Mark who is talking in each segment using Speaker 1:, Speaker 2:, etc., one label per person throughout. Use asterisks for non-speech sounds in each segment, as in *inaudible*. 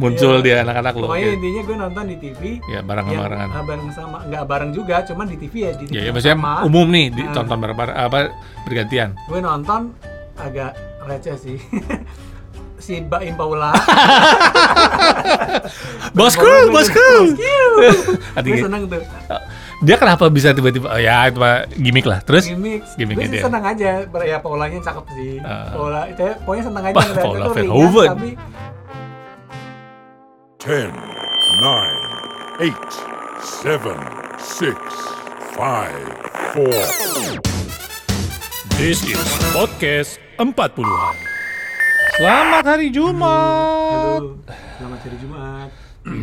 Speaker 1: muncul dia anak-anak lo.
Speaker 2: Iya. Pokoknya
Speaker 1: Oke.
Speaker 2: intinya gue nonton di TV.
Speaker 1: Ya,
Speaker 2: yang-
Speaker 1: bareng-barengan.
Speaker 2: ah, bareng sama nggak bareng juga, cuman di TV ya di TV
Speaker 1: Ya, ya maksudnya
Speaker 2: sama.
Speaker 1: umum nih
Speaker 2: Ah.
Speaker 1: ditonton bareng-bareng apa
Speaker 2: *laughs*
Speaker 1: bergantian.
Speaker 2: Gue nonton agak receh sih. *laughs* si Baim
Speaker 1: *laughs*
Speaker 2: Paula.
Speaker 1: Bosku,
Speaker 2: Baim Paula- *laughs*
Speaker 1: bosku.
Speaker 2: gue
Speaker 1: Adik,
Speaker 2: seneng tuh.
Speaker 1: dia kenapa bisa tiba-tiba oh, ya itu mah gimmick lah. Terus
Speaker 2: Gimik.
Speaker 1: gimmicknya
Speaker 2: Gue sih
Speaker 1: dia.
Speaker 2: seneng aja. Ber- Ya Paulanya cakep sih.
Speaker 1: Ah.
Speaker 2: Paula itu ya, pokoknya seneng aja
Speaker 1: Wah,
Speaker 2: ngeliatnya
Speaker 1: Paula
Speaker 2: tuh ringan,
Speaker 1: Verhoeven.
Speaker 2: tapi
Speaker 3: 10, 9, 8, 7, 6, 5, 4.
Speaker 4: This is podcast 40-an.
Speaker 1: selamat hari Jumat.
Speaker 2: Aduh, selamat hari Jumat.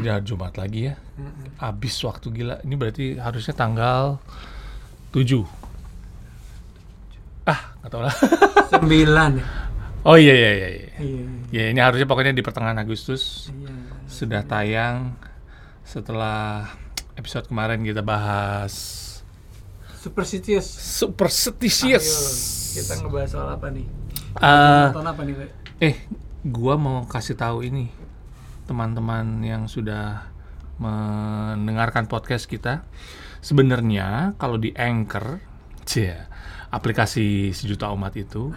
Speaker 1: Ya Jumat lagi ya.
Speaker 2: Hmm.
Speaker 1: Abis waktu gila. Ini berarti harusnya tanggal 7. Ah, nggak tahu lah. *laughs*
Speaker 2: Sembilan.
Speaker 1: Oh iya iya iya. iya.
Speaker 2: Iya.
Speaker 1: Ya ini harusnya pokoknya di pertengahan Agustus
Speaker 2: Iya.
Speaker 1: sudah tayang setelah episode kemarin kita bahas
Speaker 2: Superstitious.
Speaker 1: Superstitious.
Speaker 2: Ayo, kita ngebahas soal apa nih?
Speaker 1: Eh,
Speaker 2: Nonton apa nih, Le?
Speaker 1: eh, gua mau kasih tahu ini teman-teman yang sudah mendengarkan podcast kita. Sebenarnya kalau di Anchor, cie, aplikasi sejuta umat itu,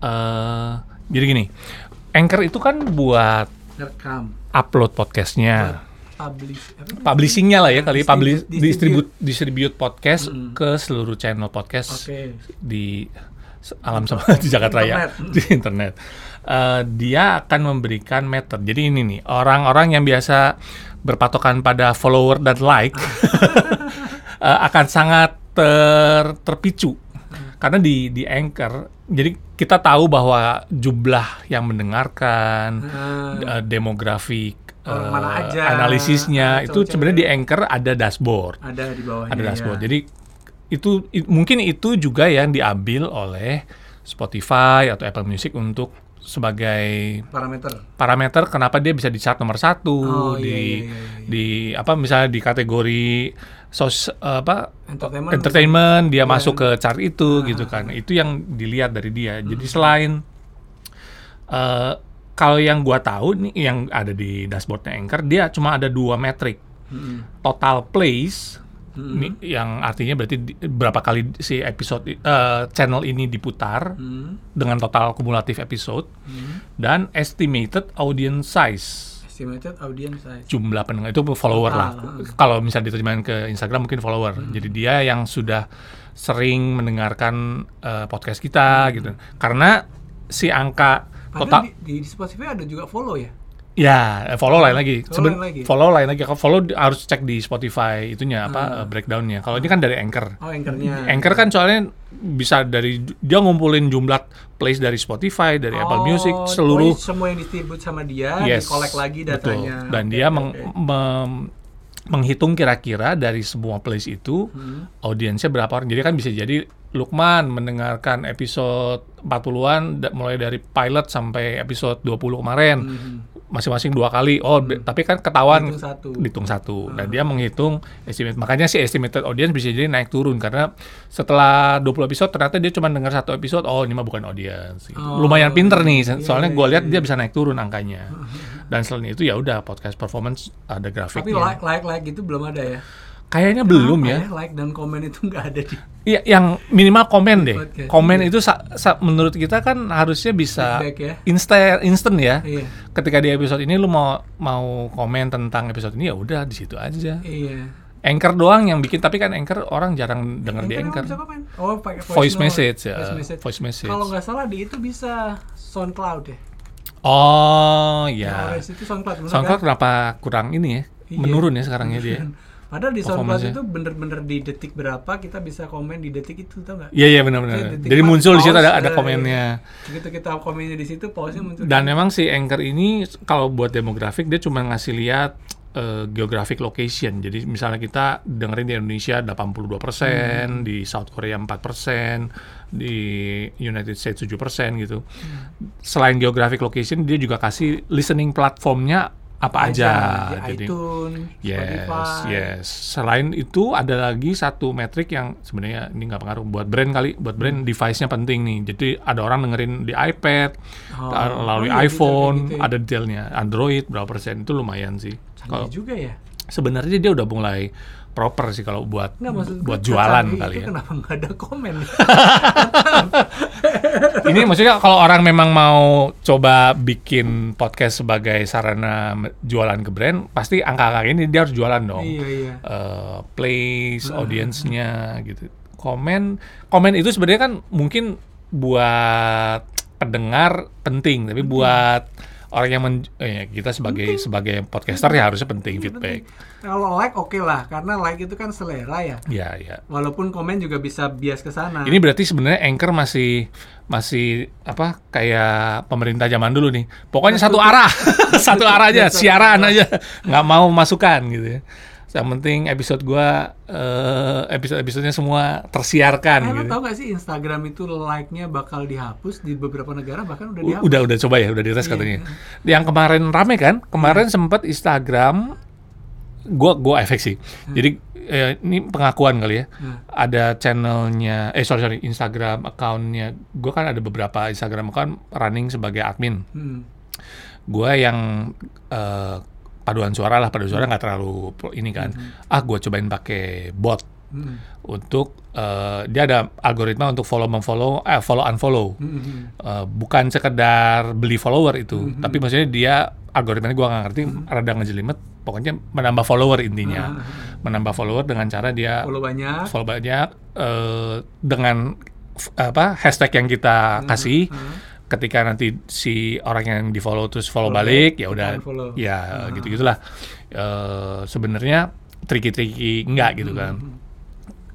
Speaker 1: eh, jadi gini, Anchor itu kan buat
Speaker 2: Rekam,
Speaker 1: upload podcastnya,
Speaker 2: publish, apa? sih?
Speaker 1: publishingnya lah ya kali,
Speaker 2: Distribu-
Speaker 1: publish, distribute,
Speaker 2: distribute.
Speaker 1: distribute podcast
Speaker 2: Mm-mm.
Speaker 1: ke seluruh channel podcast
Speaker 2: Oke.
Speaker 1: di se- alam semesta *laughs* di Jakarta Raya
Speaker 2: Internet.
Speaker 1: di internet Eh, dia akan memberikan method jadi ini nih orang-orang yang biasa berpatokan pada follower dan
Speaker 2: *laughs*
Speaker 1: like eh, akan sangat ter- terpicu karena di di anchor jadi kita tahu bahwa jumlah yang mendengarkan
Speaker 2: Nah,
Speaker 1: eh, demografi eh,
Speaker 2: Orang mana aja, Ah,
Speaker 1: analisisnya
Speaker 2: ada
Speaker 1: itu
Speaker 2: cowok-cewek.
Speaker 1: sebenarnya di anchor ada dashboard
Speaker 2: ada di bawahnya.
Speaker 1: ada dashboard.
Speaker 2: ya.
Speaker 1: Jadi itu i- mungkin itu juga yang diambil oleh Spotify atau Apple Music untuk sebagai
Speaker 2: parameter.
Speaker 1: parameter kenapa dia bisa di chart nomor satu
Speaker 2: Oh,
Speaker 1: di
Speaker 2: iya, iya, iya, iya.
Speaker 1: di apa misalnya di kategori sos apa
Speaker 2: Entertainment.
Speaker 1: entertainment dia masuk ke chart itu gitu kan itu yang dilihat dari dia jadi selain eh, kalau yang gua tahu nih yang ada di dashboardnya Anchor dia cuma ada dua metrik
Speaker 2: Mm-mm.
Speaker 1: total plays ni- yang artinya berarti di- berapa kali si episode i- eh, channel ini diputar
Speaker 2: Mm.
Speaker 1: dengan total kumulatif episode dan estimated audience size
Speaker 2: Estimated audience size.
Speaker 1: jumlah pendengar itu follower lah.
Speaker 2: Total, Hmm.
Speaker 1: Kalau misalnya diterjemahin ke Instagram mungkin follower. Jadi dia yang sudah sering mendengarkan eh, podcast kita gitu. Karena si angka total
Speaker 2: Hmm. Padahal di, di Spotify ada juga follow ya.
Speaker 1: Ya, eh, follow lain lagi.
Speaker 2: Follow
Speaker 1: Seben-
Speaker 2: lain lagi.
Speaker 1: Follow lain lagi. Kalau follow di- harus cek di Spotify itunya apa eh, breakdownnya. Kalau ini kan dari Anchor.
Speaker 2: Hmm. Oh, anchornya.
Speaker 1: Anchor kan soalnya bisa dari dia ngumpulin jumlah plays dari Spotify, dari Apple
Speaker 2: Oh,
Speaker 1: Music,
Speaker 2: pokoknya
Speaker 1: seluruh
Speaker 2: semua yang distribut sama dia,
Speaker 1: yes,
Speaker 2: dikolek lagi
Speaker 1: betul.
Speaker 2: datanya.
Speaker 1: Dan
Speaker 2: Oke,
Speaker 1: dia
Speaker 2: oke,
Speaker 1: meng-
Speaker 2: oke.
Speaker 1: mem- menghitung kira-kira dari semua plays itu
Speaker 2: Hmm.
Speaker 1: audiensnya berapa orang. Jadi kan bisa jadi Lukman mendengarkan episode 40-an da- mulai dari pilot sampai episode 20 kemarin. Masing-masing dua kali. Oh, be- tapi kan ketahuan
Speaker 2: Hmm. Dihitung satu. Ah.
Speaker 1: dihitung satu. Dan dia menghitung estimate. Makanya si estimated audience bisa jadi naik turun karena setelah 20 episode ternyata dia cuma dengar satu episode. Oh, ini mah bukan audience. gitu.
Speaker 2: Oh,
Speaker 1: Lumayan pinter nih.
Speaker 2: iya,
Speaker 1: Soalnya
Speaker 2: iya,
Speaker 1: gue lihat
Speaker 2: iya.
Speaker 1: dia bisa naik turun angkanya. Dan selain itu ya udah podcast performance ada
Speaker 2: Tapi
Speaker 1: grafiknya.
Speaker 2: like like like itu belum ada ya.
Speaker 1: Kayaknya belum
Speaker 2: Apa
Speaker 1: ya.
Speaker 2: Like dan komen itu nggak ada di
Speaker 1: Iya, yang minimal komen deh.
Speaker 2: Podcast,
Speaker 1: Komen itu sa- sa- menurut kita kan harusnya bisa
Speaker 2: Feedback ya.
Speaker 1: instan instant ya.
Speaker 2: Iya.
Speaker 1: Ketika di episode ini lu mau mau komen tentang episode ini ya udah di situ aja.
Speaker 2: Iya.
Speaker 1: Anchor doang yang bikin tapi kan Anchor orang jarang denger di Anchor.
Speaker 2: Anchor emang bisa komen? Oh, pakai voice,
Speaker 1: Voice
Speaker 2: note.
Speaker 1: message ya,
Speaker 2: Voice message.
Speaker 1: voice message.
Speaker 2: Kalau nggak salah di itu bisa SoundCloud ya.
Speaker 1: Oh
Speaker 2: Nah,
Speaker 1: ya.
Speaker 2: OS itu SoundCloud. bener
Speaker 1: SoundCloud
Speaker 2: kan?
Speaker 1: kenapa kurang ini ya?
Speaker 2: Iya.
Speaker 1: Menurun ya sekarang ya dia.
Speaker 2: Padahal di SoundCloud
Speaker 1: performance-nya.
Speaker 2: itu bener-bener di detik berapa kita bisa komen di detik itu tau nggak?
Speaker 1: Iya iya benar-benar.
Speaker 2: Jadi detik
Speaker 1: Jadi
Speaker 2: pas
Speaker 1: muncul di situ
Speaker 2: pause,
Speaker 1: ada ada
Speaker 2: eh,
Speaker 1: komennya.
Speaker 2: Begitu kita komennya di situ, pause-nya muncul.
Speaker 1: Dan memang si Anchor ini kalau buat demografik dia cuma ngasih lihat eh, geographic location. Jadi misalnya kita dengerin di Indonesia 82%, di South Korea 4%, di United States 7% gitu. Selain geographic location dia juga kasih listening platformnya apa aja. Jadi
Speaker 2: di iTunes,
Speaker 1: Yes,
Speaker 2: Spotify.
Speaker 1: yes. Selain itu ada lagi satu metrik yang sebenarnya ini nggak pengaruh buat brand kali, buat brand
Speaker 2: Hmm.
Speaker 1: device-nya penting nih. Jadi ada orang dengerin di iPad,
Speaker 2: Oh,
Speaker 1: melalui
Speaker 2: oh iya, bisa kayak
Speaker 1: iPhone,
Speaker 2: gitu ya.
Speaker 1: ada detailnya. Android berapa persen itu lumayan sih.
Speaker 2: Canggih
Speaker 1: Kalau
Speaker 2: juga ya.
Speaker 1: sebenarnya dia udah mulai proper sih kalau buat
Speaker 2: Nggak maksud gue,
Speaker 1: buat jualan
Speaker 2: canggih
Speaker 1: kali
Speaker 2: itu
Speaker 1: ya.
Speaker 2: Kenapa nggak ada komen? ya?
Speaker 1: Ini maksudnya kalau orang memang mau coba bikin podcast sebagai sarana me- jualan ke brand, pasti angka-angka ini dia harus jualan dong.
Speaker 2: iya iya.
Speaker 1: eh, place, audience-nya gitu. Komen, komen itu sebenarnya kan mungkin buat pendengar penting, tapi buat orang yang men- eh, kita sebagai sebagai podcaster ya harusnya penting feedback.
Speaker 2: Kalau like oke lah, karena like itu kan selera ya.
Speaker 1: Ya, ya.
Speaker 2: Walaupun komen juga bisa bias ke sana.
Speaker 1: Ini berarti sebenarnya anchor masih masih apa kayak pemerintah zaman dulu nih. Pokoknya satu *laughs* arah, satu arah aja, siaran aja, nggak mau masukan gitu ya. Yang penting episode gua eh, episode-episodenya semua tersiarkan
Speaker 2: Eh, lo
Speaker 1: gitu.
Speaker 2: tau gak sih Instagram itu like-nya bakal dihapus di beberapa negara bahkan udah
Speaker 1: U-
Speaker 2: dihapus.
Speaker 1: Udah udah coba ya, udah dites
Speaker 2: Iya.
Speaker 1: katanya. Yang kemarin rame kan? Kemarin sempat Instagram gua gua efek sih. Jadi eh, ini pengakuan kali ya.
Speaker 2: Hmm.
Speaker 1: Ada channelnya eh sorry sorry Instagram accountnya. Gua kan ada beberapa Instagram account running sebagai admin.
Speaker 2: Hmm.
Speaker 1: Gua yang eh, paduan suara lah, paduan suara nggak terlalu pro- ini kan. Ah, gua cobain pakai bot
Speaker 2: Hmm.
Speaker 1: untuk eh, dia ada algoritma untuk follow memfollow eh follow unfollow.
Speaker 2: Hmm, hmm.
Speaker 1: Eh, bukan sekedar beli follower itu, tapi maksudnya dia algoritmanya gua nggak ngerti, rada ngejelimet, pokoknya menambah follower intinya, menambah follower dengan cara dia
Speaker 2: Follow banyak.
Speaker 1: follow banyak eh, dengan f- apa hashtag yang kita
Speaker 2: Hmm,
Speaker 1: kasih, ketika nanti si orang yang di follow terus follow,
Speaker 2: Follow Hmm.
Speaker 1: balik,
Speaker 2: back,
Speaker 1: ya udah,
Speaker 2: kita unfollow.
Speaker 1: ya gitu gitulah, Eh, sebenarnya triki-triki enggak gitu kan
Speaker 2: Hmm.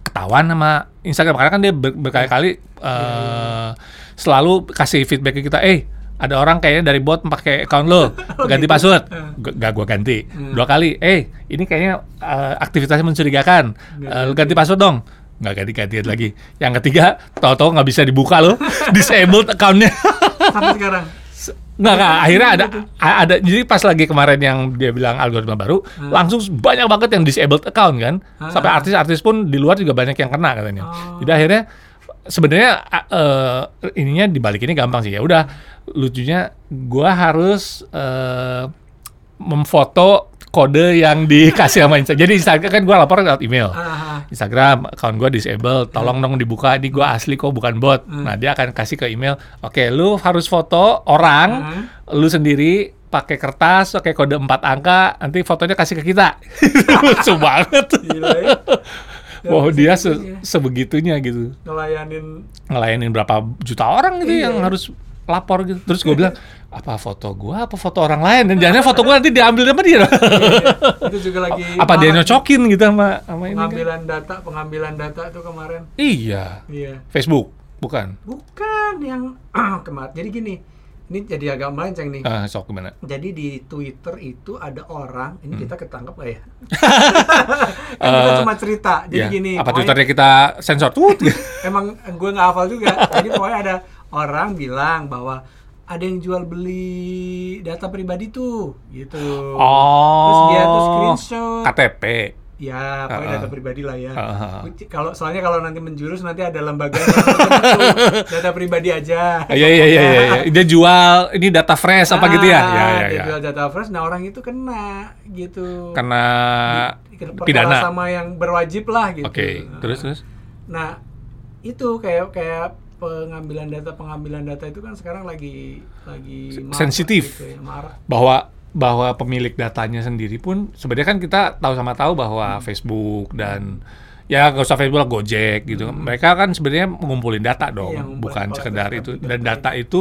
Speaker 1: ketahuan sama Instagram karena kan dia ber- berkali-kali
Speaker 2: Iya,
Speaker 1: eh, selalu kasih feedback ke kita, eh ada orang kayaknya dari bot pakai account
Speaker 2: *laughs* Oh,
Speaker 1: lo
Speaker 2: gitu.
Speaker 1: ganti password, G- gak gua ganti dua kali, eh ini kayaknya eh, aktivitasnya mencurigakan, Eh, lo ganti password dong, nggak ganti ganti lagi, yang ketiga tahu-tahu nggak bisa dibuka lo, disabled accountnya,
Speaker 2: Sampai sekarang.
Speaker 1: nggak nggak akhirnya ada a- ada jadi pas lagi kemarin yang dia bilang algoritma baru, langsung banyak banget yang disabled account kan, sampai artis-artis pun di luar juga banyak yang kena katanya, jadi akhirnya sebenarnya a- eh, ininya dibalik ini gampang sih ya udah lucunya gua harus eh, memfoto kode yang dikasih sama Instagram. Jadi Instagram kan gua lapor lewat email.
Speaker 2: Ah,
Speaker 1: Instagram account gue disable, tolong dong dibuka ini gue asli kok bukan bot. Nah dia akan kasih ke email, oke lu harus foto orang, lu sendiri pakai kertas, pakai kode empat angka, nanti fotonya kasih ke kita. *laughs* Lucu banget.
Speaker 2: gila ya.
Speaker 1: Wow dia se-
Speaker 2: segitunya.
Speaker 1: sebegitunya gitu,
Speaker 2: Ngelayanin
Speaker 1: ngelayanin berapa juta orang gitu yang harus lapor gitu. Terus gue bilang apa foto gue, apa foto orang lain dan jangan foto gue nanti diambil sama dia.
Speaker 2: itu juga lagi
Speaker 1: apa dia
Speaker 2: marak.
Speaker 1: nyocokin gitu sama sama ini? Kan?
Speaker 2: pengambilan data pengambilan data tuh kemarin
Speaker 1: Iya,
Speaker 2: iya
Speaker 1: Facebook bukan.
Speaker 2: bukan yang *clears throat* kemarin jadi gini ini jadi agak melenceng nih
Speaker 1: Ah, sok gimana?
Speaker 2: jadi di Twitter itu ada orang ini kita ketangkep
Speaker 1: *laughs*
Speaker 2: gak ya kan kita
Speaker 1: Hmm. Eh,
Speaker 2: cuma cerita
Speaker 1: Iya.
Speaker 2: jadi gini
Speaker 1: apa
Speaker 2: pokoknya-
Speaker 1: twitternya kita sensor tuh
Speaker 2: emang gue nggak hafal juga jadi pokoknya ada orang bilang bahwa ada yang jual beli data pribadi tuh gitu
Speaker 1: Oh.
Speaker 2: terus dia tuh screenshot
Speaker 1: KTP
Speaker 2: Ya, pokoknya
Speaker 1: Heeh.
Speaker 2: data pribadi lah ya.
Speaker 1: Heeh.
Speaker 2: Uci- Kalau soalnya kalau nanti menjurus nanti ada lembaga
Speaker 1: *laughs*
Speaker 2: yang menentukan itu. data pribadi aja.
Speaker 1: Ah, iya iya iya iya iya. dia jual ini data fresh apa gitu ya
Speaker 2: Ah,
Speaker 1: ya ya,
Speaker 2: dia
Speaker 1: ya.
Speaker 2: jual data fresh, nah orang itu kena gitu.
Speaker 1: karena
Speaker 2: Di- perkara
Speaker 1: pidana
Speaker 2: sama yang berwajib lah gitu.
Speaker 1: oke terus terus
Speaker 2: Nah, itu kayak kayak pengambilan data pengambilan data itu kan sekarang lagi lagi marak
Speaker 1: sensitif.
Speaker 2: gitu ya, marak.
Speaker 1: bahwa bahwa pemilik datanya sendiri pun sebenarnya kan kita tahu sama tahu bahwa
Speaker 2: Hmm.
Speaker 1: Facebook dan ya gak usah Facebook lah Gojek gitu mereka kan sebenarnya mengumpulin data dong
Speaker 2: Hmm. Iya, ngumpulin
Speaker 1: bukan
Speaker 2: data,
Speaker 1: sekedar
Speaker 2: tapi
Speaker 1: itu
Speaker 2: data
Speaker 1: dan data itu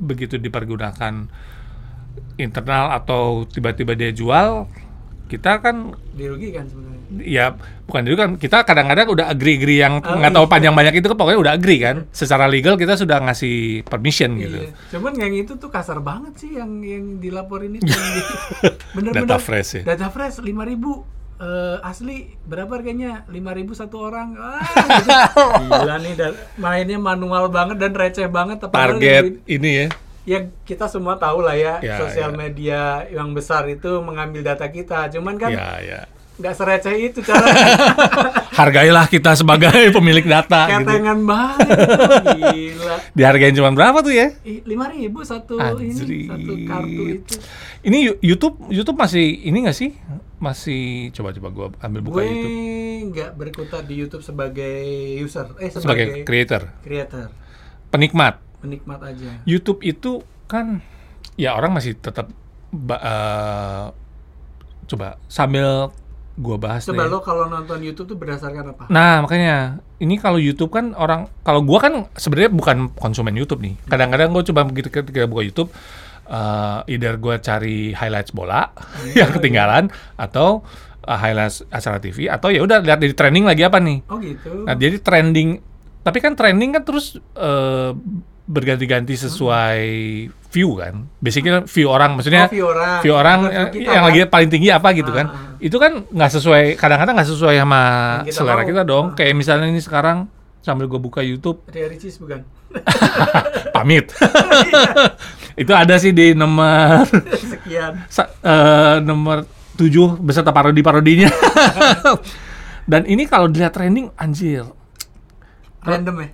Speaker 1: begitu dipergunakan internal atau tiba-tiba dia jual kita kan
Speaker 2: dirugikan sebenarnya.
Speaker 1: ya bukan dulu kan kita kadang-kadang udah agree-agree yang
Speaker 2: Oh,
Speaker 1: nggak tahu
Speaker 2: iya.
Speaker 1: panjang banyak itu pokoknya udah agree kan secara legal kita sudah ngasih permission gitu
Speaker 2: Iya. Cuman yang itu tuh kasar banget sih yang yang dilaporin
Speaker 1: *laughs*
Speaker 2: itu.
Speaker 1: Data fresh ya?
Speaker 2: Data fresh 5000 Eh, asli berapa harganya? 5000 satu
Speaker 1: *laughs*
Speaker 2: orang. Ah, gitu. Gila nih dan mainnya manual banget dan receh banget
Speaker 1: target
Speaker 2: padahal yang di-
Speaker 1: ini ya
Speaker 2: ya kita semua tahu lah ya,
Speaker 1: Ya, ya.
Speaker 2: sosial media yang besar itu mengambil data kita. Cuman kan
Speaker 1: ya Gitu. ya
Speaker 2: nggak sereceh itu cara
Speaker 1: *laughs* hargailah kita sebagai *laughs* pemilik data gitu
Speaker 2: ketengan
Speaker 1: *laughs*
Speaker 2: banget. Gila.
Speaker 1: dihargain cuma berapa tuh ya
Speaker 2: lima ribu satu ini
Speaker 1: Anjrit.
Speaker 2: satu kartu itu
Speaker 1: ini Yu- YouTube YouTube masih ini nggak sih masih coba coba gua ambil buka
Speaker 2: gue
Speaker 1: YouTube
Speaker 2: nggak berkutat di YouTube sebagai user eh
Speaker 1: sebagai
Speaker 2: sebagai,
Speaker 1: creator
Speaker 2: creator
Speaker 1: penikmat
Speaker 2: penikmat aja
Speaker 1: YouTube itu kan ya orang masih tetap ba- eh, coba sambil gua bahas
Speaker 2: coba
Speaker 1: nih.
Speaker 2: lo kalau nonton YouTube tuh berdasarkan apa
Speaker 1: Nah, makanya ini kalau YouTube kan orang kalau gua kan sebenarnya bukan konsumen YouTube nih.
Speaker 2: Hmm.
Speaker 1: Kadang-kadang gua coba begitu ketika buka YouTube eh either gua cari highlights bola *laughs* yang ketinggalan atau eh, highlights acara TV atau ya udah lihat di trending lagi apa nih.
Speaker 2: oh gitu
Speaker 1: Nah, jadi trending tapi kan trending kan terus eh, berganti-ganti sesuai view kan. Basicnya view orang maksudnya
Speaker 2: Oh, view orang.
Speaker 1: view orang,
Speaker 2: Bukan
Speaker 1: eh,
Speaker 2: view kita,
Speaker 1: yang
Speaker 2: kan?
Speaker 1: lagi paling tinggi apa gitu
Speaker 2: Ah,
Speaker 1: kan.
Speaker 2: ah.
Speaker 1: Itu kan nggak sesuai kadang-kadang nggak sesuai sama
Speaker 2: Yang kita
Speaker 1: selera
Speaker 2: mau.
Speaker 1: kita dong.
Speaker 2: Ah.
Speaker 1: Kayak misalnya ini sekarang sambil gue buka YouTube *laughs*
Speaker 2: Ria Ricis bukan *laughs*
Speaker 1: pamit.
Speaker 2: Iya.
Speaker 1: Itu ada sih di nomor
Speaker 2: sekian
Speaker 1: sa- eh, nomor 7 beserta
Speaker 2: *laughs*
Speaker 1: parodi-parodinya. Dan ini kalau dilihat trending anjir
Speaker 2: random ya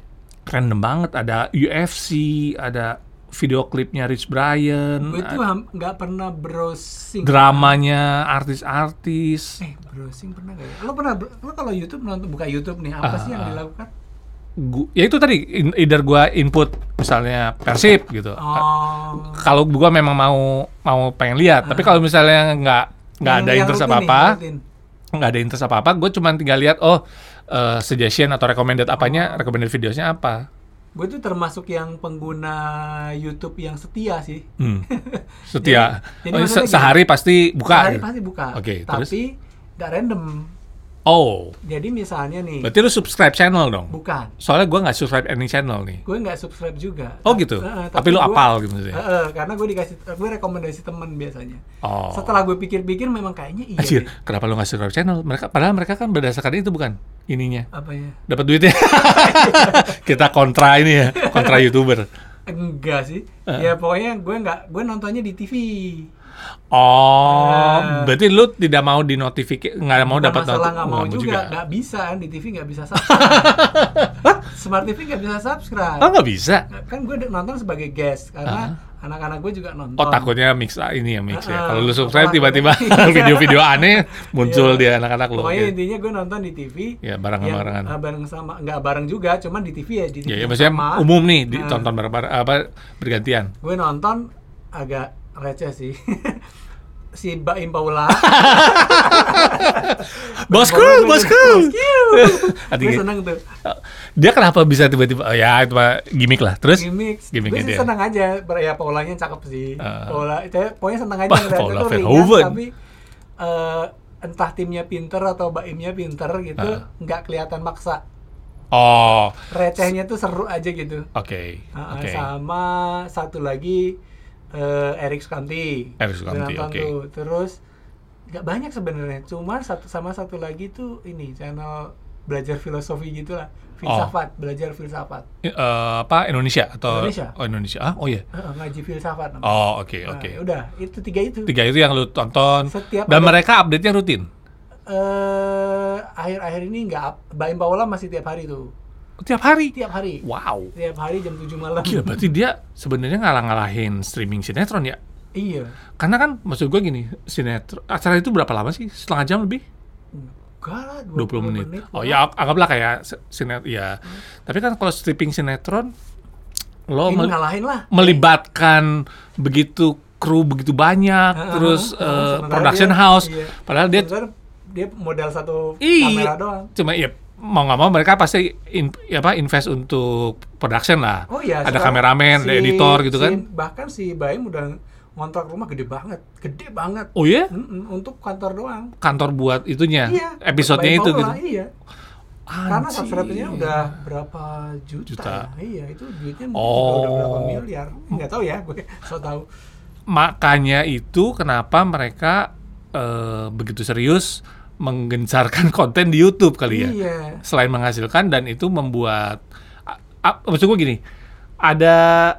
Speaker 1: random banget ada UFC ada video klipnya Rich Brian
Speaker 2: gue tuh
Speaker 1: ada
Speaker 2: ham- nggak pernah browsing
Speaker 1: dramanya artis-artis
Speaker 2: eh browsing pernah nggak ya lo pernah bro- lo kalau YouTube nonton buka YouTube nih
Speaker 1: Ah.
Speaker 2: apa sih yang dilakukan
Speaker 1: Gu- ya itu tadi in- either gua input misalnya persib gitu
Speaker 2: oh
Speaker 1: kalau gua memang mau mau pengen lihat tapi kalau misalnya nggak nggak
Speaker 2: Ah. yang-
Speaker 1: ada
Speaker 2: yang
Speaker 1: interest apa
Speaker 2: rutin nih,
Speaker 1: apa
Speaker 2: yang rutin.
Speaker 1: nggak ada interest apa apa gue cuman tinggal lihat oh eh, suggestion atau recommended apanya
Speaker 2: Oh.
Speaker 1: recommended videonya apa
Speaker 2: gue tuh termasuk yang pengguna YouTube yang setia sih
Speaker 1: Hmm. *laughs*
Speaker 2: *laughs*
Speaker 1: setia
Speaker 2: jadi
Speaker 1: Oh, se-
Speaker 2: maksudnya gini,
Speaker 1: sehari pasti buka
Speaker 2: Sehari
Speaker 1: gitu?
Speaker 2: pasti buka.
Speaker 1: Oke, terus?
Speaker 2: Tapi nggak random.
Speaker 1: oh
Speaker 2: Jadi misalnya nih,
Speaker 1: berarti lu subscribe channel dong
Speaker 2: bukan.
Speaker 1: Soalnya gua nggak subscribe any channel nih.
Speaker 2: Gue nggak subscribe juga.
Speaker 1: Oh gitu.
Speaker 2: Eh, eh,
Speaker 1: tapi, lu
Speaker 2: gua-
Speaker 1: apal gitu
Speaker 2: Eh,
Speaker 1: maksudnya.
Speaker 2: eh, karena gue dikasih, gue rekomendasi temen biasanya.
Speaker 1: oh.
Speaker 2: Setelah gue pikir-pikir, memang kayaknya iya.
Speaker 1: Anjir,
Speaker 2: deh.
Speaker 1: kenapa lu nggak subscribe channel? Mereka padahal mereka kan berdasarkan itu bukan ininya.
Speaker 2: Apa ya?
Speaker 1: Dapat duitnya. *laughs* Kita kontra ini ya, kontra YouTuber.
Speaker 2: Enggak sih. Ya pokoknya gue nggak, gue nontonnya di TV.
Speaker 1: Oh,
Speaker 2: Eh.
Speaker 1: berarti lu tidak mau dinotifikasi, nggak mau
Speaker 2: Bukan
Speaker 1: dapat
Speaker 2: masalah
Speaker 1: noti-
Speaker 2: nggak mau juga, nggak bisa kan di TV nggak
Speaker 1: *laughs*
Speaker 2: bisa subscribe. Smart TV nggak bisa subscribe.
Speaker 1: Oh, nggak bisa.
Speaker 2: Nah, Kan gue nonton sebagai guest karena anak-anak gue juga nonton.
Speaker 1: Oh, takutnya mix ini ya mix
Speaker 2: Eh,
Speaker 1: ya. Kalau lu
Speaker 2: eh,
Speaker 1: subscribe
Speaker 2: takutnya- *laughs* Iya.
Speaker 1: tiba-tiba *laughs* video-video aneh muncul di anak-anak lu. Gitu.
Speaker 2: Pokoknya
Speaker 1: Oke.
Speaker 2: intinya gue nonton di TV.
Speaker 1: Ya, barengan-barengan.
Speaker 2: yang, eh, bareng sama, nggak bareng juga, cuman di TV ya. Di TV
Speaker 1: Ya, ya
Speaker 2: yang
Speaker 1: maksudnya
Speaker 2: sama.
Speaker 1: umum nih
Speaker 2: Nah.
Speaker 1: ditonton bareng-bareng apa bergantian.
Speaker 2: Gue nonton agak receh sih. *laughs* si Mbak
Speaker 1: *laughs*
Speaker 2: Impaula.
Speaker 1: Bosku,
Speaker 2: Bosku,
Speaker 1: bosku.
Speaker 2: gue
Speaker 1: *laughs* Hati-
Speaker 2: seneng tuh.
Speaker 1: Dia kenapa bisa tiba-tiba oh, ya itu mah gimmick lah. Terus
Speaker 2: Gimik. Gue
Speaker 1: gimmicknya
Speaker 2: sih
Speaker 1: dia.
Speaker 2: seneng aja. Ber- Ya Paulanya cakep sih.
Speaker 1: Ah.
Speaker 2: Paula, saya- pokoknya seneng aja.
Speaker 1: Wah,
Speaker 2: ngeliatnya
Speaker 1: Paula
Speaker 2: tuh ringan,
Speaker 1: Verhoeven.
Speaker 2: Tapi eh, entah timnya pinter atau Mbak Imnya pinter gitu.
Speaker 1: Ah.
Speaker 2: Nggak kelihatan maksa.
Speaker 1: Oh,
Speaker 2: Recehnya tuh seru aja gitu.
Speaker 1: oke.
Speaker 2: Ah,
Speaker 1: Oke.
Speaker 2: Sama satu lagi eh Eric Skanti.
Speaker 1: Eric Skanti,
Speaker 2: Gue nonton
Speaker 1: oke.
Speaker 2: tuh. Terus nggak banyak sebenarnya. Cuma satu sama satu lagi tuh ini channel belajar filosofi gitulah.
Speaker 1: Oh.
Speaker 2: Filsafat, belajar filsafat.
Speaker 1: Eh, apa Indonesia atau
Speaker 2: Indonesia.
Speaker 1: Oh, Indonesia. Ah, oh iya.
Speaker 2: Heeh, ngaji filsafat namanya.
Speaker 1: Oh, oke,
Speaker 2: Nah,
Speaker 1: oke.
Speaker 2: udah, itu tiga itu.
Speaker 1: Tiga itu yang lu tonton
Speaker 2: Setiap
Speaker 1: dan
Speaker 2: ada-
Speaker 1: mereka update-nya rutin.
Speaker 2: Eh, akhir-akhir ini nggak up- Baim Paola masih tiap hari tuh.
Speaker 1: Tiap hari.
Speaker 2: Tiap hari.
Speaker 1: Wow.
Speaker 2: Tiap hari jam 7 malam.
Speaker 1: Gila, berarti dia sebenarnya ngalah-ngalahin streaming sinetron ya?
Speaker 2: iya.
Speaker 1: Karena kan maksud gue gini, sinetron acara itu berapa lama sih? Setengah jam lebih?
Speaker 2: Enggak lah,
Speaker 1: 20 menit. Oh ya ang- anggaplah kayak se- sinet ya. Tapi kan kalau stripping sinetron lo
Speaker 2: Hmm. Ini
Speaker 1: mel-
Speaker 2: ngalahin lah.
Speaker 1: melibatkan begitu kru begitu banyak
Speaker 2: Heeh,
Speaker 1: terus
Speaker 2: heeh.
Speaker 1: eh,
Speaker 2: Sementara
Speaker 1: production
Speaker 2: dia-
Speaker 1: house
Speaker 2: iya.
Speaker 1: padahal dia
Speaker 2: Sebentar, dia modal satu
Speaker 1: iya
Speaker 2: kamera doang.
Speaker 1: cuma ya mau nggak mau mereka pasti in- ya apa invest untuk production lah
Speaker 2: Oh iya.
Speaker 1: ada
Speaker 2: sekarang
Speaker 1: kameramen ada
Speaker 2: si-
Speaker 1: editor gitu
Speaker 2: si-
Speaker 1: kan
Speaker 2: Bahkan si Baim udah ngontrak rumah gede banget, gede banget.
Speaker 1: oh iya
Speaker 2: Mm-mm, untuk kantor doang.
Speaker 1: kantor buat itunya
Speaker 2: Iya.
Speaker 1: episodenya
Speaker 2: Baim
Speaker 1: itu
Speaker 2: Paula,
Speaker 1: gitu
Speaker 2: Iya. Karena
Speaker 1: Anjir.
Speaker 2: subscribe-nya udah berapa juta,
Speaker 1: Juta.
Speaker 2: ya? Iya, itu duitnya mungkin
Speaker 1: Oh.
Speaker 2: udah berapa miliar. Nggak tahu ya, gue so tahu.
Speaker 1: makanya itu kenapa mereka eh, begitu serius menggencarkan *laughs* konten di YouTube kali ya
Speaker 2: Iya.
Speaker 1: selain menghasilkan dan itu membuat a- a- maksud gue gini ada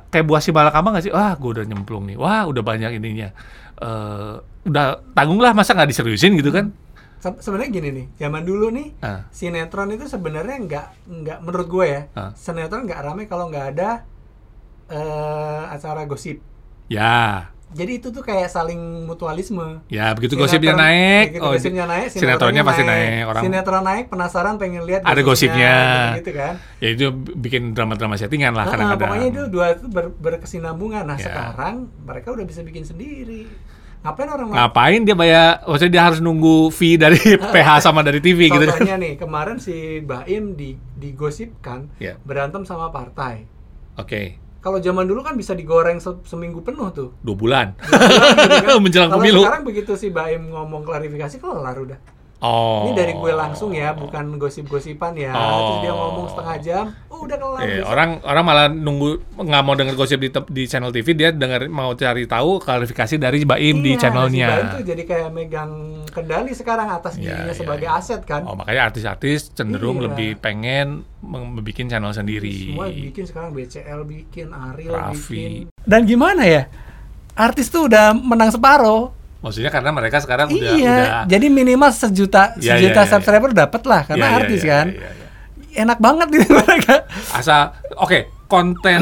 Speaker 1: kayak buah si malakama nggak sih? Wah, gue udah nyemplung nih. Wah, udah banyak ininya. Eh, udah tanggung lah, masa nggak diseriusin gitu
Speaker 2: Hmm.
Speaker 1: kan?
Speaker 2: Se- sebenarnya gini nih zaman dulu nih
Speaker 1: Ah.
Speaker 2: sinetron itu sebenarnya nggak nggak menurut gue ya
Speaker 1: Ah.
Speaker 2: sinetron nggak rame kalau nggak ada eh acara gosip
Speaker 1: Ya,
Speaker 2: jadi itu tuh kayak saling mutualisme
Speaker 1: ya begitu
Speaker 2: Sinetron-
Speaker 1: gosipnya naik.
Speaker 2: begitu
Speaker 1: oh,
Speaker 2: gosipnya naik
Speaker 1: sinetronnya pasti naik. Orang
Speaker 2: sinetron naik penasaran pengen lihat
Speaker 1: Ada gosipnya.
Speaker 2: gitu kan
Speaker 1: ya itu bikin drama-drama settingan lah
Speaker 2: Nah,
Speaker 1: kadang-kadang.
Speaker 2: pokoknya itu dua itu ber- berkesinambungan. Nah,
Speaker 1: Ya.
Speaker 2: sekarang mereka udah bisa bikin sendiri. Ngapain orang
Speaker 1: Ngapain dia bayar? Maksudnya dia harus nunggu fee dari PH sama dari TV gitu.
Speaker 2: Contohnya nih, kemarin si Baim di digosipkan
Speaker 1: Ya.
Speaker 2: berantem sama partai.
Speaker 1: Oke,
Speaker 2: Kalau zaman dulu kan bisa digoreng se- seminggu penuh tuh.
Speaker 1: dua bulan.
Speaker 2: Gitu kan.
Speaker 1: *laughs* Menjelang
Speaker 2: Kalau
Speaker 1: pemilu.
Speaker 2: sekarang begitu si Baim ngomong klarifikasi kelar udah.
Speaker 1: Oh.
Speaker 2: Ini dari gue langsung ya, bukan gosip-gosipan ya. Terus
Speaker 1: Oh.
Speaker 2: dia ngomong setengah jam, oh udah kelar.
Speaker 1: Eh,
Speaker 2: besok.
Speaker 1: orang orang malah nunggu nggak mau denger gosip di, te- di channel TV dia denger mau cari tahu klarifikasi dari Baim di
Speaker 2: Iya,
Speaker 1: channelnya.
Speaker 2: Si Baim tuh jadi kayak megang kendali sekarang atas
Speaker 1: Iya,
Speaker 2: dirinya
Speaker 1: iya,
Speaker 2: sebagai
Speaker 1: iya.
Speaker 2: aset kan.
Speaker 1: Oh makanya artis-artis cenderung
Speaker 2: Iya.
Speaker 1: lebih pengen mem- bikin channel sendiri.
Speaker 2: Semua bikin sekarang BCL bikin, Ariel
Speaker 1: Raffi.
Speaker 2: bikin. Dan gimana ya? Artis tuh udah menang separoh.
Speaker 1: Maksudnya karena mereka sekarang udah
Speaker 2: iya.
Speaker 1: udah
Speaker 2: Jadi minimal sejuta
Speaker 1: Iya,
Speaker 2: sejuta
Speaker 1: iya, iya,
Speaker 2: subscriber dapat lah karena
Speaker 1: Iya, iya,
Speaker 2: artis
Speaker 1: iya,
Speaker 2: kan.
Speaker 1: iya, iya.
Speaker 2: Enak banget gitu mereka.
Speaker 1: Asal oke konten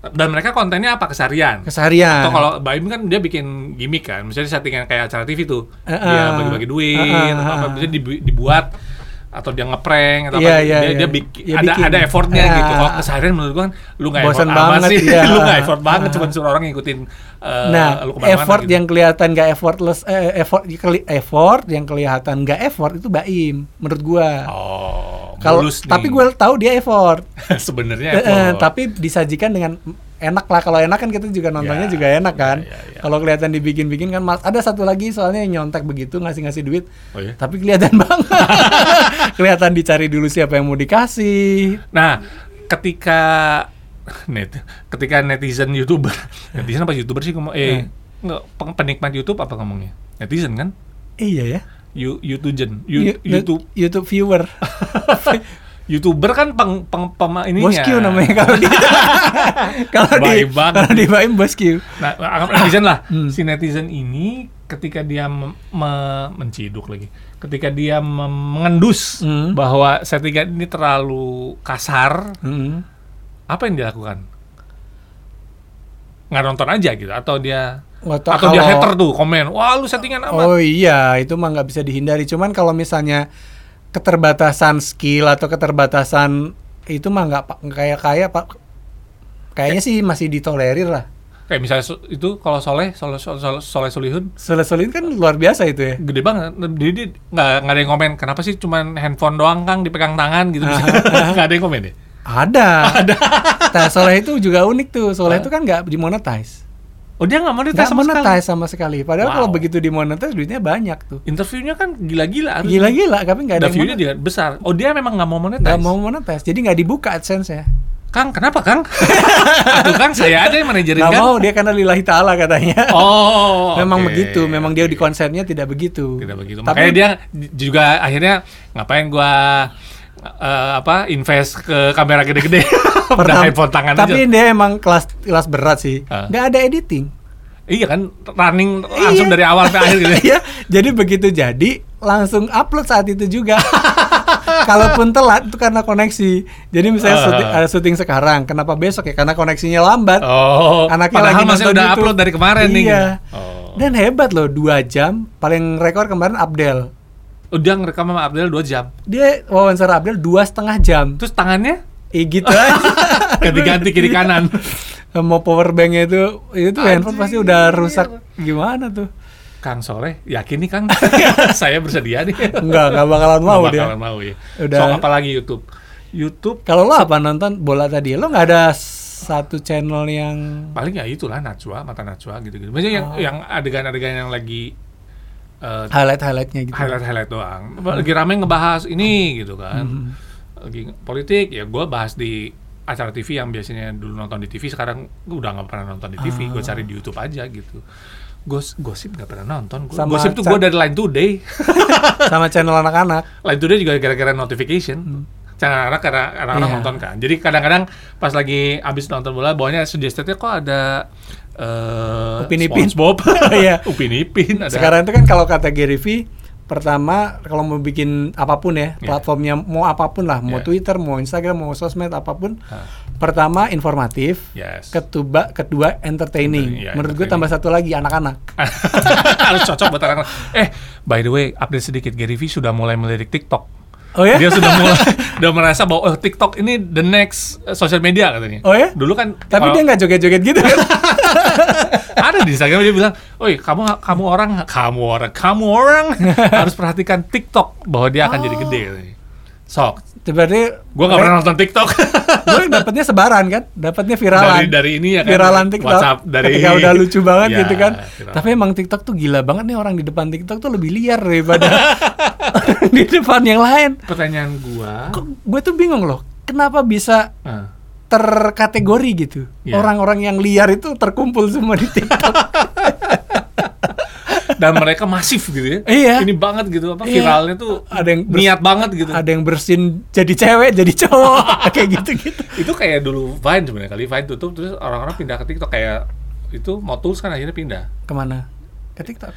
Speaker 1: dan mereka kontennya apa kesarian?
Speaker 2: Keseharian.
Speaker 1: Atau kalau Baim kan dia bikin gimmick kan, misalnya settingan kayak acara TV tuh,
Speaker 2: Heeh.
Speaker 1: dia bagi-bagi
Speaker 2: Ah,
Speaker 1: duit,
Speaker 2: Heeh,
Speaker 1: atau apa,
Speaker 2: heeh.
Speaker 1: misalnya dibu- dibuat atau dia ngeprank atau
Speaker 2: Iya,
Speaker 1: apa,
Speaker 2: iya,
Speaker 1: dia,
Speaker 2: iya.
Speaker 1: dia bikin,
Speaker 2: Ya,
Speaker 1: ada
Speaker 2: bikin.
Speaker 1: ada effortnya
Speaker 2: Iya.
Speaker 1: gitu. Kalau keseharian menurut gua kan, lu nggak
Speaker 2: Bosan
Speaker 1: effort amat
Speaker 2: banget,
Speaker 1: sih,
Speaker 2: iya.
Speaker 1: *laughs* lu nggak effort banget,
Speaker 2: Heeh.
Speaker 1: cuma suruh orang ngikutin. eh,
Speaker 2: Nah,
Speaker 1: lu kemana-mana
Speaker 2: effort
Speaker 1: gitu.
Speaker 2: yang kelihatan gak effortless, eh, effort, keli- effort yang kelihatan gak effort itu Baim, menurut gua.
Speaker 1: oh,
Speaker 2: Kalau
Speaker 1: mulus nih.
Speaker 2: tapi gue tahu dia effort.
Speaker 1: *laughs* sebenarnya
Speaker 2: Eh, eh,
Speaker 1: effort.
Speaker 2: tapi disajikan dengan enak lah kalau enak kan kita juga nontonnya
Speaker 1: Ya,
Speaker 2: juga enak kan.
Speaker 1: ya, ya, ya.
Speaker 2: Kalau kelihatan dibikin-bikin kan mas ada satu lagi soalnya yang nyontek begitu ngasih-ngasih duit.
Speaker 1: Oh, iya?
Speaker 2: Tapi kelihatan *laughs* banget. kelihatan dicari dulu siapa yang mau dikasih.
Speaker 1: Nah, ketika *laughs* net ketika netizen youtuber *laughs* netizen apa youtuber sih ngomong eh nggak, peng- penikmat YouTube apa ngomongnya netizen kan
Speaker 2: Iya ya.
Speaker 1: you YouTugen
Speaker 2: You-
Speaker 1: you, YouTube
Speaker 2: YouTube viewer.
Speaker 1: *laughs* youtuber kan peng peng pema ininya
Speaker 2: Bosq namanya kan. kalau di
Speaker 1: *laughs*
Speaker 2: kalau
Speaker 1: ya.
Speaker 2: di
Speaker 1: Baik banget.
Speaker 2: kalau di Baim Bosq.
Speaker 1: nah anggap netizen lah
Speaker 2: Hmm.
Speaker 1: si netizen ini ketika dia mem- me- menciduk lagi ketika dia mem- mengendus
Speaker 2: Hmm.
Speaker 1: bahwa settingan ini terlalu kasar
Speaker 2: Mm.
Speaker 1: apa yang dilakukan nggak nonton aja gitu atau dia
Speaker 2: Atau
Speaker 1: atau dia
Speaker 2: kalau-
Speaker 1: hater tuh komen wah lu settingan amat
Speaker 2: Oh iya, itu mah nggak bisa dihindari. Cuman kalau misalnya keterbatasan skill atau keterbatasan itu mah nggak pa- nggak kayak kayak pak kayaknya sih masih ditolerir lah.
Speaker 1: kayak misalnya so- itu kalau soleh soleh soleh, soleh solihun
Speaker 2: Soleh-solehin kan luar biasa itu ya.
Speaker 1: gede banget jadi dia nggak nggak ada yang komen kenapa sih cuman handphone doang kang dipegang tangan gitu bisa
Speaker 2: *laughs*
Speaker 1: nggak ada yang komen deh
Speaker 2: Ada. Ada. *laughs* nah, soleh itu juga unik tuh. Soleh itu kan nggak dimonetize.
Speaker 1: oh dia nggak mau ditanya
Speaker 2: Nggak
Speaker 1: sama sekali
Speaker 2: monetize sama sekali. Padahal
Speaker 1: Wow.
Speaker 2: kalau begitu dimonetize duitnya banyak tuh.
Speaker 1: interviewnya kan gila-gila harus
Speaker 2: Gila-gila, tapi nggak ada yang
Speaker 1: view-nya
Speaker 2: monetize.
Speaker 1: dia besar oh dia memang nggak mau monetize
Speaker 2: Nggak mau monetize, jadi nggak dibuka ya. AdSense-nya.
Speaker 1: kang kenapa
Speaker 2: *laughs*
Speaker 1: kang aduh kang saya aja yang manajerin
Speaker 2: Nggak
Speaker 1: kan
Speaker 2: mau, dia karena lillahi ta'ala katanya.
Speaker 1: oh
Speaker 2: *laughs* memang
Speaker 1: oke.
Speaker 2: begitu, memang dia di konsepnya tidak begitu.
Speaker 1: tidak begitu
Speaker 2: Tapi
Speaker 1: makanya dia j- juga akhirnya ngapain gua eh, apa invest ke kamera gede-gede *laughs* udah
Speaker 2: pertama-
Speaker 1: handphone tangan aja
Speaker 2: Tapi dia emang kelas kelas berat sih.
Speaker 1: Ah.
Speaker 2: Nggak ada editing. *laughs*
Speaker 1: iya kan running langsung
Speaker 2: Iya.
Speaker 1: dari awal sampai akhir gitu
Speaker 2: Iya, jadi begitu jadi langsung upload saat itu juga.
Speaker 1: *laughs*
Speaker 2: Kalaupun telat itu karena koneksi. Jadi misalnya
Speaker 1: Ah.
Speaker 2: syuting, ada syuting sekarang, kenapa besok ya? Karena koneksinya lambat.
Speaker 1: Oh,
Speaker 2: Anaknya
Speaker 1: padahal
Speaker 2: lagi
Speaker 1: masih
Speaker 2: nonton
Speaker 1: udah
Speaker 2: YouTube.
Speaker 1: upload dari kemarin nih.
Speaker 2: Iya.
Speaker 1: Oh.
Speaker 2: Dan hebat loh, dua jam. Paling rekor kemarin Abdel.
Speaker 1: Udah ngerekam sama Abdel 2 jam.
Speaker 2: Dia wawancara Abdel dua setengah jam.
Speaker 1: Terus tangannya
Speaker 2: Eh, gitu aja.
Speaker 1: *laughs* ganti-ganti kiri kanan.
Speaker 2: Mau power banknya itu, itu handphone pasti udah rusak. Gimana tuh?
Speaker 1: Kang Soleh, yakin nih
Speaker 2: *laughs*
Speaker 1: Kang? Saya bersedia nih.
Speaker 2: Enggak, enggak bakalan mau
Speaker 1: Nggak
Speaker 2: dia.
Speaker 1: bakalan mau ya.
Speaker 2: Udah.
Speaker 1: So, apalagi YouTube. YouTube
Speaker 2: Kalau lo apa nonton bola tadi? Lo nggak ada satu channel yang
Speaker 1: paling ya itulah Najwa, mata Najwa gitu-gitu. Maksudnya yang
Speaker 2: Oh.
Speaker 1: yang adegan-adegan yang lagi eh,
Speaker 2: highlight-highlightnya gitu.
Speaker 1: highlight-highlight doang. Lagi rame ngebahas ini gitu kan.
Speaker 2: Mm-hmm.
Speaker 1: Lagi politik ya gua bahas di acara TV yang biasanya dulu nonton di TV sekarang gua udah nggak pernah nonton di
Speaker 2: Ah.
Speaker 1: TV, gua cari di YouTube aja gitu. Gos gosip nggak pernah nonton. Gua,
Speaker 2: Sama
Speaker 1: gosip tuh
Speaker 2: ca-
Speaker 1: gua dari Line Today.
Speaker 2: *laughs*
Speaker 1: *laughs*
Speaker 2: Sama channel anak-anak.
Speaker 1: Line Today juga gara-gara notification. cara karena orang-orang
Speaker 2: Mm. Iya.
Speaker 1: nonton kan. Jadi kadang-kadang pas lagi abis nonton bola, bawahnya suggested-nya kok ada eh
Speaker 2: Upin Ipin.
Speaker 1: SpongeBob,
Speaker 2: *laughs* Iya.
Speaker 1: *laughs* Upin Ipin, ada
Speaker 2: Sekarang itu kan kalau kata Gary V, pertama kalau mau bikin apapun ya,
Speaker 1: Iya.
Speaker 2: platformnya mau apapun lah,
Speaker 1: Iya. Ah.
Speaker 2: mau Twitter, mau Instagram, mau sosmed apapun,
Speaker 1: Hah.
Speaker 2: pertama informatif,
Speaker 1: Yes.
Speaker 2: ketuba, kedua entertaining.
Speaker 1: Entertaining, iya,
Speaker 2: Menurut gue tambah satu lagi anak-anak.
Speaker 1: harus cocok buat anak-anak. Eh, by the way, update sedikit Gary V sudah mulai melirik TikTok.
Speaker 2: Oh ya?
Speaker 1: Dia sudah mulai sudah merasa bahwa oh, TikTok ini the next eh, social media katanya.
Speaker 2: Oh ya?
Speaker 1: Dulu kan kalau-
Speaker 2: Tapi dia nggak joget-joget gitu
Speaker 1: *laughs*
Speaker 2: kan?
Speaker 1: ada di Instagram dia bilang, "Oi, kamu kamu orang, kamu orang, kamu
Speaker 2: *laughs*
Speaker 1: orang harus perhatikan TikTok bahwa dia akan jadi gede."
Speaker 2: Oh.
Speaker 1: Sok,
Speaker 2: Berarti
Speaker 1: gua
Speaker 2: Eh?
Speaker 1: nggak pernah nonton TikTok
Speaker 2: *laughs* Gue dapetnya sebaran kan, dapetnya
Speaker 1: dari
Speaker 2: viralan.
Speaker 1: dari ini ya kan.
Speaker 2: viralan TikTok.
Speaker 1: WhatsApp dari
Speaker 2: Ketika udah lucu banget
Speaker 1: *laughs* Ya,
Speaker 2: gitu kan.
Speaker 1: viral.
Speaker 2: Tapi emang TikTok tuh gila banget nih orang di depan TikTok tuh lebih liar daripada
Speaker 1: *laughs*
Speaker 2: orang di depan yang lain.
Speaker 1: pertanyaan gua,
Speaker 2: Kok gue tuh bingung loh, kenapa bisa
Speaker 1: eh,
Speaker 2: terkategori gitu?
Speaker 1: Iya.
Speaker 2: Orang-orang yang liar itu terkumpul semua di
Speaker 1: *laughs*
Speaker 2: TikTok.
Speaker 1: dan mereka masif gitu ya.
Speaker 2: Iya.
Speaker 1: Ini banget gitu apa
Speaker 2: Iya.
Speaker 1: viralnya tuh
Speaker 2: Ada yang bers-
Speaker 1: niat banget gitu.
Speaker 2: Ada yang bersin jadi cewek, jadi cowok,
Speaker 1: *laughs*
Speaker 2: kayak gitu-gitu.
Speaker 1: Itu kayak dulu Vine sebenarnya kali Vine tutup terus orang-orang pindah ke TikTok kayak itu Motuls kan akhirnya pindah.
Speaker 2: Kemana? Ke TikTok.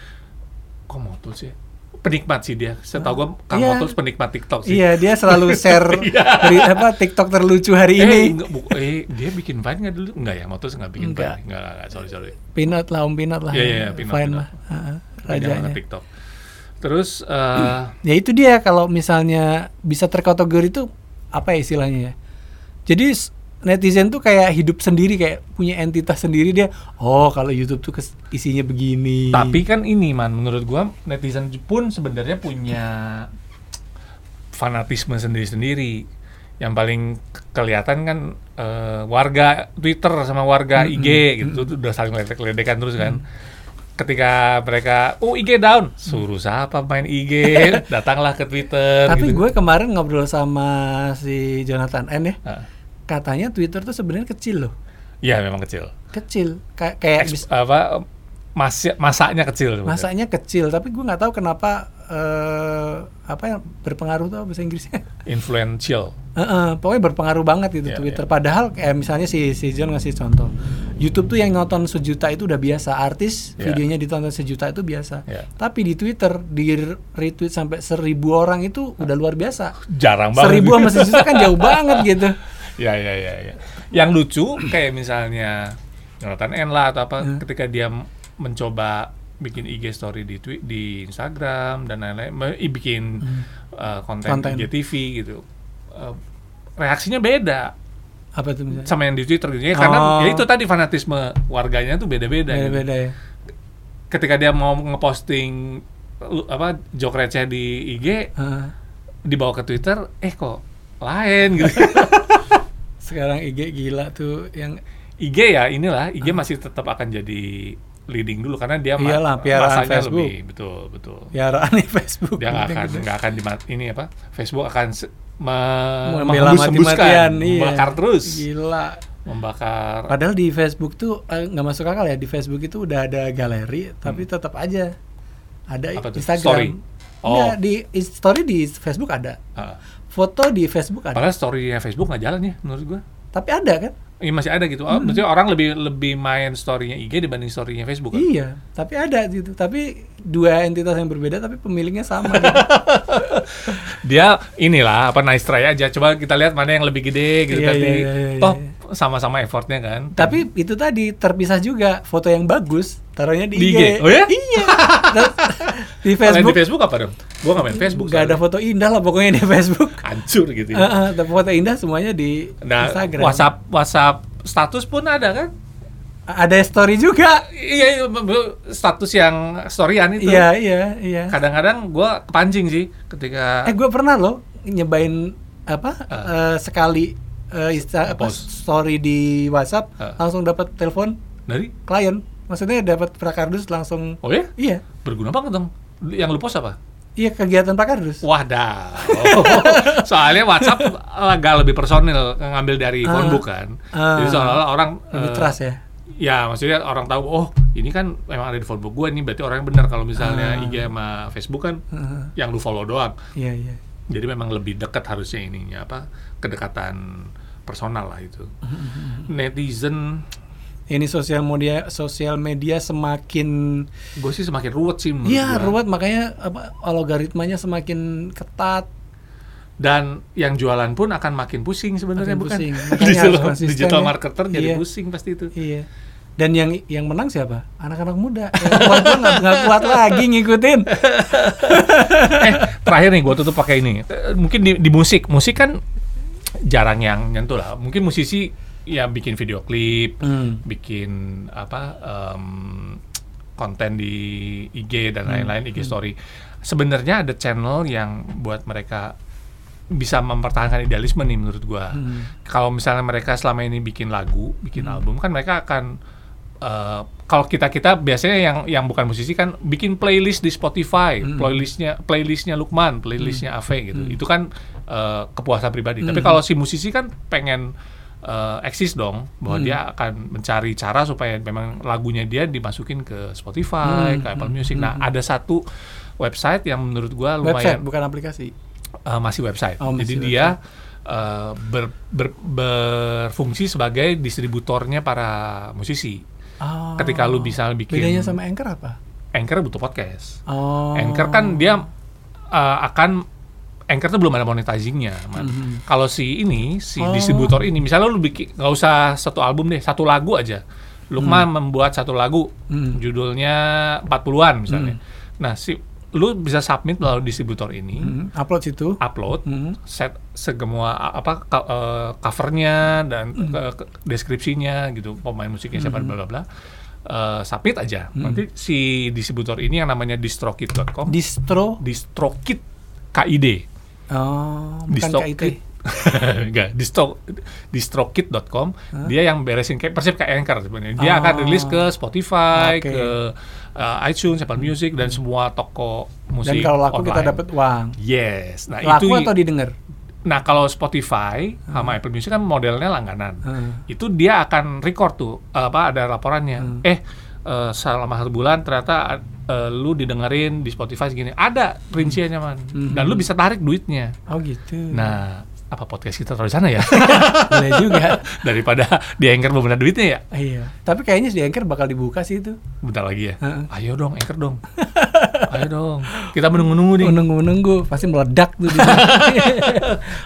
Speaker 1: Kok Motuls ya? Penikmat sih dia. Setahu gua Kang
Speaker 2: Iya.
Speaker 1: Motuls penikmat TikTok sih.
Speaker 2: Iya, dia
Speaker 1: *laughs*
Speaker 2: selalu share beri- apa TikTok terlucu hari
Speaker 1: Iya. Eh,
Speaker 2: ini.
Speaker 1: enggak, bu- eh, dia bikin Vine nggak dulu? Enggak ya, Motus nggak bikin
Speaker 2: Nggak.
Speaker 1: Vine. Enggak, enggak, enggak, sorry, sorry.
Speaker 2: Pinot lah, Om Pinot lah.
Speaker 1: Iya, iya, iya, Pinot,
Speaker 2: Fine
Speaker 1: Pinot.
Speaker 2: lah. Heeh,
Speaker 1: Pindah
Speaker 2: rajanya.
Speaker 1: ke TikTok. Terus, eh,
Speaker 2: Ya itu dia kalau misalnya bisa terkategori itu apa ya istilahnya ya. Jadi s- netizen tuh kayak hidup sendiri kayak punya entitas sendiri dia. Oh, kalau YouTube tuh kes- isinya begini.
Speaker 1: tapi kan ini, Man, menurut gua netizen pun sebenarnya punya fanatisme sendiri-sendiri. Yang paling ke- kelihatan kan eh, warga Twitter sama warga IG gitu, tuh udah saling ledek-ledekan terus kan. Ketika mereka, oh IG down, suruh siapa main
Speaker 2: *laughs*
Speaker 1: IG, datanglah ke Twitter.
Speaker 2: Tapi
Speaker 1: gitu.
Speaker 2: gue kemarin ngobrol sama si Jonathan N ya.
Speaker 1: Ah.
Speaker 2: Katanya Twitter tuh sebenarnya kecil loh.
Speaker 1: ya memang kecil.
Speaker 2: Kecil. Kay- kayak Eh,
Speaker 1: Eks-
Speaker 2: bis-
Speaker 1: apa masih masaknya kecil sebenarnya.
Speaker 2: masanya kecil, tapi gue nggak tahu kenapa eh apa yang berpengaruh tuh apa bahasa Inggrisnya. *laughs*
Speaker 1: influential
Speaker 2: Heeh, pokoknya berpengaruh banget gitu
Speaker 1: Iya,
Speaker 2: Twitter. Padahal kayak misalnya si si John ngasih contoh, YouTube tuh yang nonton sejuta itu udah biasa, artis
Speaker 1: Iya.
Speaker 2: videonya ditonton sejuta itu biasa.
Speaker 1: Iya.
Speaker 2: Tapi di Twitter di retweet sampai seribu orang itu udah luar biasa.
Speaker 1: jarang banget
Speaker 2: Seribu sama sejuta kan
Speaker 1: *laughs*
Speaker 2: jauh banget gitu.
Speaker 1: ya ya ya ya yang lucu kayak misalnya Jonathan N lah atau apa
Speaker 2: Hmm.
Speaker 1: ketika dia m- mencoba bikin IG story di Twi- di Instagram dan lain-lain me- i- bikin uh, konten,
Speaker 2: Hmm. Konten.
Speaker 1: IGTV gitu Uh, reaksinya beda
Speaker 2: Apa tuh misalnya?
Speaker 1: sama yang di Twitter gitu ya karena
Speaker 2: Oh.
Speaker 1: ya itu tadi fanatisme warganya tuh beda-beda gitu.
Speaker 2: Beda-beda ya.
Speaker 1: ketika dia mau ngeposting lu- apa jok receh di IG
Speaker 2: Heeh.
Speaker 1: dibawa ke Twitter, eh kok lain *laughs* gitu.
Speaker 2: sekarang IG gila tuh yang
Speaker 1: IG ya inilah, IG masih tetap akan jadi leading dulu karena dia ma-
Speaker 2: Ah. Iyalah, piaraan
Speaker 1: masanya
Speaker 2: Facebook.
Speaker 1: lebih betul betul.
Speaker 2: piaraan ya di Facebook.
Speaker 1: Dia nggak akan
Speaker 2: Gitu.
Speaker 1: nggak akan dima- ini apa Facebook akan se- me-
Speaker 2: Membela
Speaker 1: menghembus-hembuskan,
Speaker 2: mati-matian, iya.
Speaker 1: membakar terus,
Speaker 2: Gila.
Speaker 1: membakar.
Speaker 2: Padahal di Facebook tuh eh, nggak masuk akal ya di Facebook itu udah ada galeri tapi tetap aja ada
Speaker 1: Hmm. Apa tuh?
Speaker 2: Instagram.
Speaker 1: Story?
Speaker 2: Nggak,
Speaker 1: Oh.
Speaker 2: di is- story di Facebook ada,
Speaker 1: Ah.
Speaker 2: foto di Facebook ada,
Speaker 1: Padahal story-nya Facebook nggak jalan ya menurut gua.
Speaker 2: tapi ada kan?
Speaker 1: Iya masih ada gitu.
Speaker 2: Hmm.
Speaker 1: Oh, Maksudnya orang lebih lebih main story-nya IG dibanding story-nya Facebook. Kan?
Speaker 2: Iya, tapi ada gitu. Tapi dua entitas yang berbeda tapi pemiliknya sama. gitu.
Speaker 1: *laughs* dia inilah apa nice try aja coba kita lihat mana yang lebih gede gitu
Speaker 2: Iya,
Speaker 1: tapi
Speaker 2: iya, iya, iya,
Speaker 1: toh
Speaker 2: iya.
Speaker 1: sama-sama effortnya kan
Speaker 2: tapi itu tadi terpisah juga foto yang bagus taruhnya di,
Speaker 1: Di
Speaker 2: IG.
Speaker 1: IG? Oh ya? *laughs*
Speaker 2: Iya. Terus di
Speaker 1: Kalau yang
Speaker 2: Facebook
Speaker 1: di Facebook apa dong gua nggak main Facebook
Speaker 2: nggak ada
Speaker 1: soalnya.
Speaker 2: foto indah lah pokoknya di Facebook.
Speaker 1: hancur gitu ya.
Speaker 2: Heeh, tapi foto indah semuanya di
Speaker 1: nah
Speaker 2: Eh, Instagram.
Speaker 1: WhatsApp WhatsApp status pun ada kan
Speaker 2: Ada story juga.
Speaker 1: iya iya, bu- bu- status yang storyan itu
Speaker 2: Iya iya iya.
Speaker 1: kadang-kadang gua kepancing sih ketika
Speaker 2: Eh gue pernah loh nyebain apa
Speaker 1: Ah.
Speaker 2: eh, sekali eh, insta- apa,
Speaker 1: Post.
Speaker 2: story di WhatsApp
Speaker 1: Ah.
Speaker 2: langsung dapat telepon
Speaker 1: dari
Speaker 2: klien. Maksudnya dapat prakardus langsung.
Speaker 1: oh ya
Speaker 2: Iya
Speaker 1: berguna banget dong yang lu post apa
Speaker 2: iya kegiatan prakardus.
Speaker 1: Wah
Speaker 2: *laughs*
Speaker 1: dah. Soalnya WhatsApp agak lebih personil ngambil dari
Speaker 2: Ah.
Speaker 1: phonebook kan.
Speaker 2: Ah.
Speaker 1: Jadi seolah-olah orang
Speaker 2: Lebih
Speaker 1: eh,
Speaker 2: trust ya.
Speaker 1: Ya, maksudnya orang tahu oh, ini kan memang ada di
Speaker 2: Ah. Eh.
Speaker 1: phonebook gua ini berarti orang yang benar kalau misalnya IG sama Facebook kan
Speaker 2: Heeh.
Speaker 1: yang lu follow doang.
Speaker 2: Iya iya.
Speaker 1: Jadi memang lebih dekat harusnya ininya apa kedekatan personal lah itu.
Speaker 2: Mm-hmm.
Speaker 1: Netizen
Speaker 2: Ini sosial media sosial media semakin
Speaker 1: gue sih semakin ruwet sih menurut
Speaker 2: Iya,
Speaker 1: gua.
Speaker 2: ruwet makanya apa algoritmanya semakin ketat.
Speaker 1: Dan yang jualan pun akan makin pusing sebenarnya
Speaker 2: Makin
Speaker 1: bukan? *laughs*
Speaker 2: pusing. Makanya
Speaker 1: digital,
Speaker 2: harus konsisten
Speaker 1: digital
Speaker 2: ya.
Speaker 1: marketer jadi
Speaker 2: Iya.
Speaker 1: pusing pasti itu.
Speaker 2: Iya. Dan yang yang menang siapa? Anak-anak muda. Yang kuat gua nggak nggak kuat lagi ngikutin.
Speaker 1: *laughs* eh terakhir nih gue tutup pakai ini Eh, mungkin di, di musik musik kan jarang yang nyentuh lah mungkin musisi ya bikin video klip
Speaker 2: Hmm.
Speaker 1: bikin apa em, konten di IG dan lain-lain IG story sebenarnya ada channel yang buat mereka bisa mempertahankan idealisme nih menurut gua kalau misalnya mereka selama ini bikin lagu bikin album kan mereka akan eh, kalau kita kita biasanya yang yang bukan musisi kan bikin playlist di Spotify
Speaker 2: Hmm.
Speaker 1: playlistnya playlistnya Lukman playlistnya Ave gitu itu kan eh, kepuasan pribadi
Speaker 2: Hmm.
Speaker 1: tapi kalau si musisi kan pengen eh, eksis dong bahwa
Speaker 2: Hmm.
Speaker 1: dia akan mencari cara supaya memang lagunya dia dimasukin ke
Speaker 2: Hmm.
Speaker 1: Spotify ke Apple Music nah ada satu website yang menurut gua lumayan
Speaker 2: Website bukan aplikasi.
Speaker 1: Eh, masih website.
Speaker 2: Oh, masih
Speaker 1: Jadi dia eh, ber- ber- berfungsi sebagai distributornya para musisi.
Speaker 2: Oh.
Speaker 1: Ketika lu bisa bikin
Speaker 2: bedanya sama Anchor apa?
Speaker 1: Anchor butuh podcast.
Speaker 2: Oh.
Speaker 1: Anchor kan dia eh, akan Anchor tuh belum ada monetizingnya. Man. Kalau si ini, si
Speaker 2: Mhm. Oh.
Speaker 1: distributor ini, misalnya lu bikin nggak usah satu album deh, satu lagu aja. Lukman membuat satu lagu,
Speaker 2: Hmm.
Speaker 1: judulnya 40-an misalnya. Nah, si lu bisa submit melalui distributor ini,
Speaker 2: Hmm, upload situ.
Speaker 1: upload,
Speaker 2: Hmm.
Speaker 1: set segemua a- apa ka- eh, covernya dan
Speaker 2: Hmm.
Speaker 1: ke- ke- deskripsinya gitu pemain musiknya siapa bla bla bla Eh, submit aja
Speaker 2: Hmm.
Speaker 1: nanti si distributor ini yang namanya distrokit.com
Speaker 2: Distro.
Speaker 1: distrokit KID
Speaker 2: Oh, bukan
Speaker 1: distrokit
Speaker 2: KIT.
Speaker 1: *laughs* enggak distro distrokit.com dia yang beresin kayak persib kayak anchor sebenarnya dia akan
Speaker 2: Oh.
Speaker 1: rilis ke Spotify
Speaker 2: Oke.
Speaker 1: ke eh, iTunes Apple Music dan semua toko
Speaker 2: Dan
Speaker 1: musik
Speaker 2: kalau laku kita
Speaker 1: online.
Speaker 2: dapat uang.
Speaker 1: yes nah
Speaker 2: laku
Speaker 1: itu
Speaker 2: atau didengar?
Speaker 1: Nah, kalau Spotify sama Apple Music kan modelnya langganan.
Speaker 2: Hmm.
Speaker 1: Itu dia akan record tuh apa ada laporannya. Eh eh, selama satu bulan ternyata eh, lu didengerin di Spotify segini. Ada rinciannya,
Speaker 2: Hmm.
Speaker 1: Man. Dan lu bisa tarik duitnya.
Speaker 2: Oh gitu.
Speaker 1: Nah, apa podcast kita taruh di sana ya?
Speaker 2: *laughs* boleh juga. *laughs*
Speaker 1: *laughs* Daripada di Anchor belum ada duitnya ya.
Speaker 2: Iya. Tapi kayaknya di Anchor bakal dibuka sih itu.
Speaker 1: Bentar lagi ya.
Speaker 2: Heeh.
Speaker 1: Ayo dong, Anchor
Speaker 2: *laughs*
Speaker 1: dong. Ayo dong. Kita menunggu-nunggu nih.
Speaker 2: Menunggu-menunggu pasti meledak tuh.
Speaker 1: *laughs*
Speaker 2: di sini.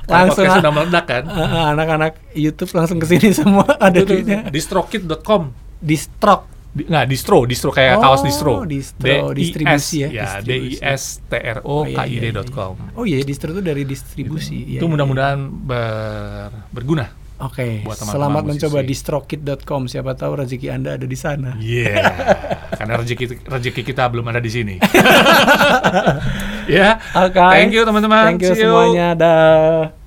Speaker 1: Karena
Speaker 2: langsung
Speaker 1: podcast
Speaker 2: ah,
Speaker 1: sudah meledak kan.
Speaker 2: ah, ah, anak-anak YouTube langsung ke sini semua
Speaker 1: *laughs*
Speaker 2: ada
Speaker 1: Itu tuh,
Speaker 2: duitnya.
Speaker 1: distrokid.com
Speaker 2: Di stroke.
Speaker 1: Di- nggak distro distro kayak kaos
Speaker 2: Oh,
Speaker 1: distro
Speaker 2: distro,
Speaker 1: D-I-S,
Speaker 2: distribusi ya,
Speaker 1: ya d i
Speaker 2: distribusi.
Speaker 1: s t r o
Speaker 2: Oh,
Speaker 1: k
Speaker 2: iya,
Speaker 1: i
Speaker 2: iya, iya.
Speaker 1: d.com
Speaker 2: Oh iya, distro itu dari distribusi. Iya,
Speaker 1: itu
Speaker 2: iya.
Speaker 1: mudah-mudahan ber- berguna
Speaker 2: Oke.
Speaker 1: buat teman-teman
Speaker 2: Selamat
Speaker 1: musisi.
Speaker 2: mencoba distrokit.com. Siapa tahu rezeki Anda ada di sana.
Speaker 1: Iya, *laughs* karena rezeki rezeki kita belum ada di
Speaker 2: *laughs*
Speaker 1: sini. ya,
Speaker 2: Oke.
Speaker 1: thank you teman-teman.
Speaker 2: Thank you
Speaker 1: See you.
Speaker 2: semuanya. Dah.